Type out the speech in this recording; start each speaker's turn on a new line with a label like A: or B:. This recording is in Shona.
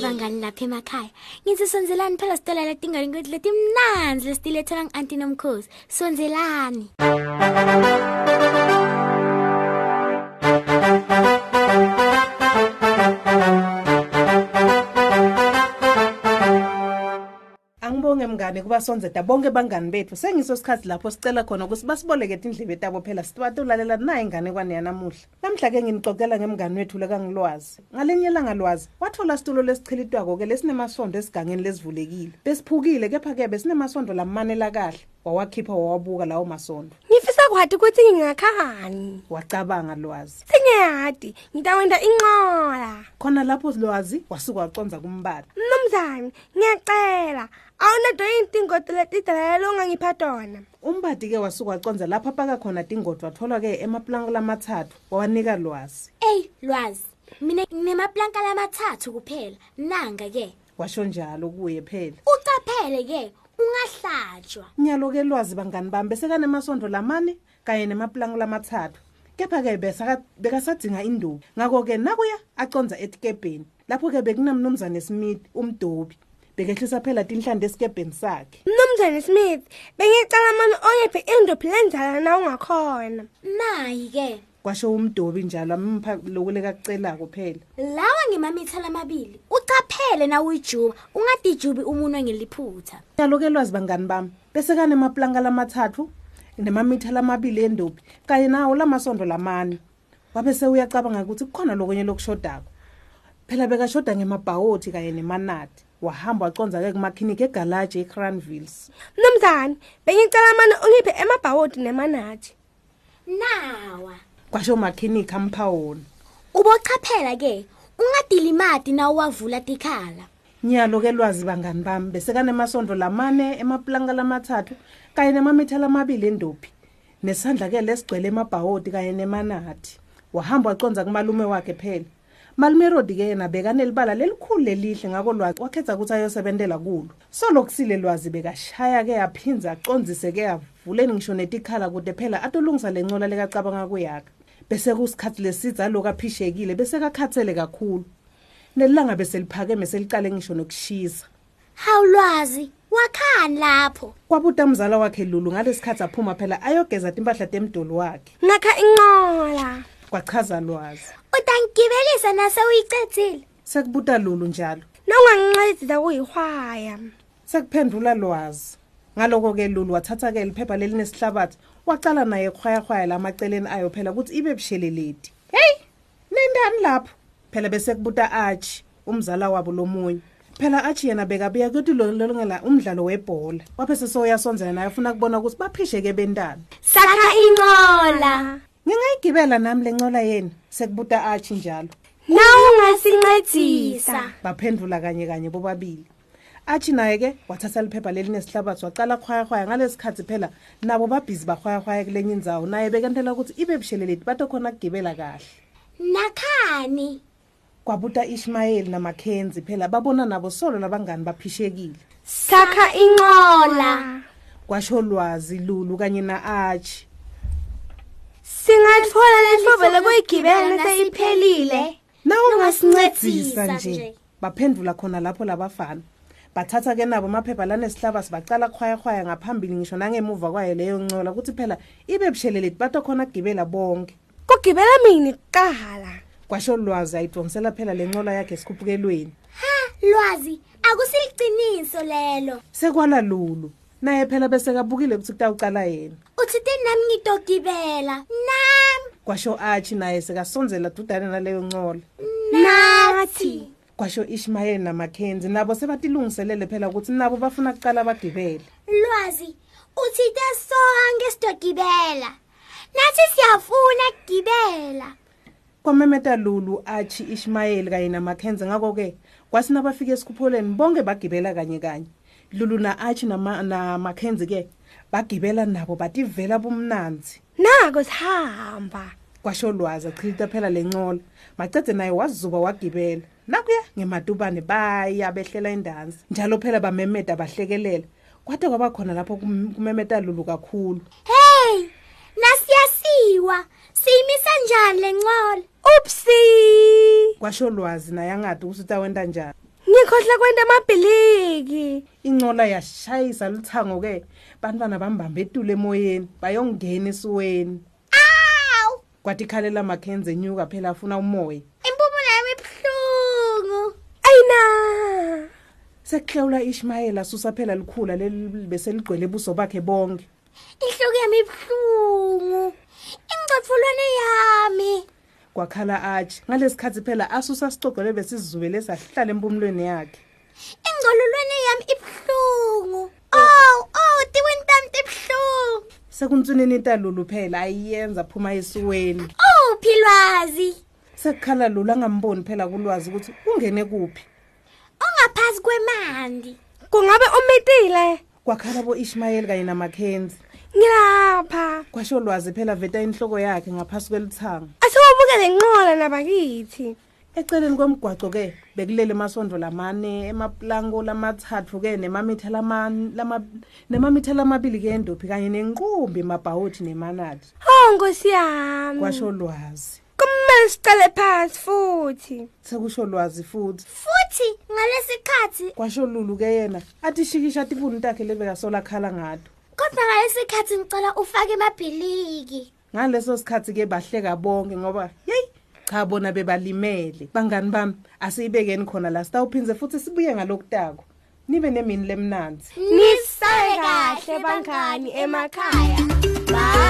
A: lapha emakhaya ngizisonzelani phela sitolala tingaringoti letimnanzi lesitilethela ngu-anti nomkhosi sonzelani
B: angibonge mngane kuba sonzeda bonke bangani bethu sengiso sikhathi lapho sicela khona ukuthi basiboleke tindlebe tabo phela sibatolalela na ingane kwane yanamuhla namhla-ke nginixoxela ngemngane wethu lekangilwazi ngalinye langalwazi wathola situlo lesichilitwako-ke lesinemasondo esigangeni lesivulekile besiphukile kepha-ke besinemasondo lamanela kahle wawakhipha wawabuka lawo masondo
C: ngifisa kwati kutsi ngingakhani
B: wacabanga lwazi
C: sengiyati ngitawenta inqola
B: khona lapho lwazi wasuke waconza kumbala
C: mnumzane ngiyacela awunato yini tingoto letidalela ongangipha tona
B: umbati-ke wasuke waconza lapho apaka khona tingodo watholwa-ke emaplanka lamathathu wawanika lwazi
A: eyi lwazi mina nginemapulanka lamathathu kuphela nanga-ke
B: washo njalo kuye phela
A: ucaphele-ke ungahlatshwa
B: nyalo-ke lwazi bangani bami besekanemasonto lamane kanye nemapulango lamathathu kepha-ke besaka- bekasadinga indubi ngakho-ke nakuya aconza etikebheni lapho-ke bekunamnumzane smith umdobi bekehlisa phela tinhlande esikebheni sakhe
C: mnumzane smith bengicala mani ongephi indophi lenzala na ungakhona
A: nayi-ke
B: kwasho umdobi njalo ampha lokulekakucelako phela
A: lawa ngemamitha lamabili ucaphele na uyijuba ungadijubi umunwe ngeliphutha
B: nyalo-ke lwazi bangani bami besekanemapulanga lamathathu nemamitha lamabili endobi kanye nawo lamasondo lamane wabe sewuyacabanga ukuthi kukhona lokunye lokushodako phela bekashoda ngemabhawothi kanye nemanati wahamba waconza-ke kumakhinikhi egalaji ecranvilles
C: mnumzane bengicala mani ungiphe emabhawodi nemanathi
A: nawa
B: kwasho makhinikhi ampha wona
A: ubochaphela-ke ungadilimadi na uwavula tikhala
B: nyalo-ke lwazi bangani bami besekanemasonto lamane emapulanga lamathathu kanye nemamitha lamabili endophi nesandla-ke lesigcwele emabhawodi kanye nemanathi wahamba waconza kumalume wakhe phela malume erodi-ke yena bekanelibala lelikhulu lelihle ngako lwazi wakhetha ukuthi ayosebentela kulo solokusile lwazi bekashaya-ke aphinze aconzise-ke avuleni ngisho netikhala kude phela atolungisa le ncola lekacabanga kuyakha bese kusikhathi lesiza alokhu aphishekile bese kakhathele kakhulu nelilanga beseliphakeme seliqale ngisho nokushisa
A: hawu lwazi wakhani lapho
B: kwabuta mzala wakhe lulu ngalesikhathi aphuma phela ayogeza timpahla temdolo wakhe
C: ngakha inqola
B: kwachaza lwazi
A: utangigibelisa nasewuyicedzile
B: sekubuta lulu njalo
C: nongangincedisa kuyihwaya
B: sekuphendula lwazi ngaloko-ke lulu wathatha-ke liphepha lelinesihlabathi wacala naye ekhwayahwaya lamaceleni ayo phela ukuthi ibe busheleleti heyi nendani lapho phela besekubuta achi umzala wabo lomunye phela achi yena bekabuya kutilolongela umdlalo webhola waphe sesowuyasonzela naye ufuna kubona ukuthi baphisheke bentani
A: sakha inqola
B: ngingayigibela nami le ncola yenu sekubuta achi njalo
C: na ungasincedisa
B: baphendula kanye kanye bobabili athi naye-ke wathatha liphepha lelinesihlabathi wacala khwayahwaya ngalesi khathi phela nabo babhizi bahwayahwaya kulenye inzawo naye bekentela ukuthi ibe busheleleti batokhona kugibela kahle
A: nakhani
B: kwabuta ishmayeli namakhenzi phela babona nabo solo labangani baphishekile
C: sakha inqola
B: kwasho lwazi lulu kanye na-achi
C: singathola lehlobo lokuyigibela leseyiphelile
A: Nongasincedisa
B: nawungasincedisa nje
A: nje.
B: baphendula khona lapho labafana bathatha-ke nabo amaphepha lanesihlabasi bacala khwayakhwaya ngaphambili ngisho nangemuva kwayo leyo ncola ukuthi phela ibe busheleleti batokhona kugibela bonke
C: kugibela mini kuqala
B: kwasho lwazi ayidonsela phela le ncola yakhe esikhuphukelweni
A: ha lwazi akusiliciniso lelo
B: sekwala lulu naye phela besekabukile ukuthi kutawucala yena
A: uthite nami ngitogibela nami
B: kwasho achi naye sekasonzela dudane naleyo ncola
C: nathi
B: kwasho ishmayeli namakhenzi nabo sebatilungiselele phela ukuthi nabo bafuna kucala bagibele
A: lwazi uthite sonke sitogibela nathi siyafuna kugibela
B: kwamemeta lulu achi ishmayeli kanye namakhenze ngako-ke kwasina bafika esikhupholeni bonke bagibela kanye kanye lulu na-achi namakhenzi-ke bagibela nabo bativela bomnanzi
C: nako sihamba
B: kwasho lwazi achilita phela le ncola macede naye wazuba wagibela nakuya ngematubane baya behlela indanzi njalo phela bamemeta bahlekelela kwade kwaba khona lapho kum- kumemeta lulu kakhulu
A: hey nasiyasiwa siyimisa njani le ncola
C: upsi
B: kwasho lwazi naye angadi ukuthi utawenta njani
C: ngikhohle kwenta amabhiliki
B: incola yashayisa luthango-ke bantwana bambambe etule emoyeni bayongena esiweni
A: awu
B: kwathi ikhalela makhenze enyuka phela afuna umoya
A: impumulo yami ibuhlungu
C: ayina
B: sekuhlawula ishmayeli asusa phela likhula leli beseligcwele buso bakhe bonke
A: inhloko yami ibuhlungu ingcefulwane yami
B: kwakhala atshe ngalesi khathi phela asusa sicogele besizubele sahlala empumulweni yakhe
A: ingcololwane yami ibuhlungu ow ow tiweni tami tibuhlungu
B: sekunswinini intalulu phela ayiyenza phuma esiweni
A: uphi lwazi
B: sekukhala lulu angamboni phela kulwazi ukuthi kungene kuphi
A: ongaphasi kwemandi
C: kungabe umitile
B: kwakhala bo-ishmayeli kanye namakhenzi
C: ngilapha
B: kwasho lwazi phela veta inhloko yakhe ngaphasi kwelithanga
C: asiwabuke lenqola nabakithi
B: eceleni komgwaco-ke bekulele emasondo lamane emaplanko lamathathu-ke nemamitha lama- lama- nemamitha lamabili-ke endophi kanye nenqumbi mabhawuthi nemanati
C: oh nkosi yami
B: kwasho lwazi
C: kumele sicale phansi futhi
B: sekusho lwazi futhi
A: futhi ngalesikhathi
B: kwasho lulu-ke yena atishikisha atifuni takhe lebekasola khala ngato
A: kodwa ngalesikhathi ngicela ufake emabhiliki
B: ngaleso sikhathi-ke bahleka bonke ngoba yeyi cha bona bebalimele bangani bami asiyibekeni khona la sitawuphinze futhi sibuye ngalokutako nibe nemini lemnanzi
A: nisale kahle bangani emakhaya bye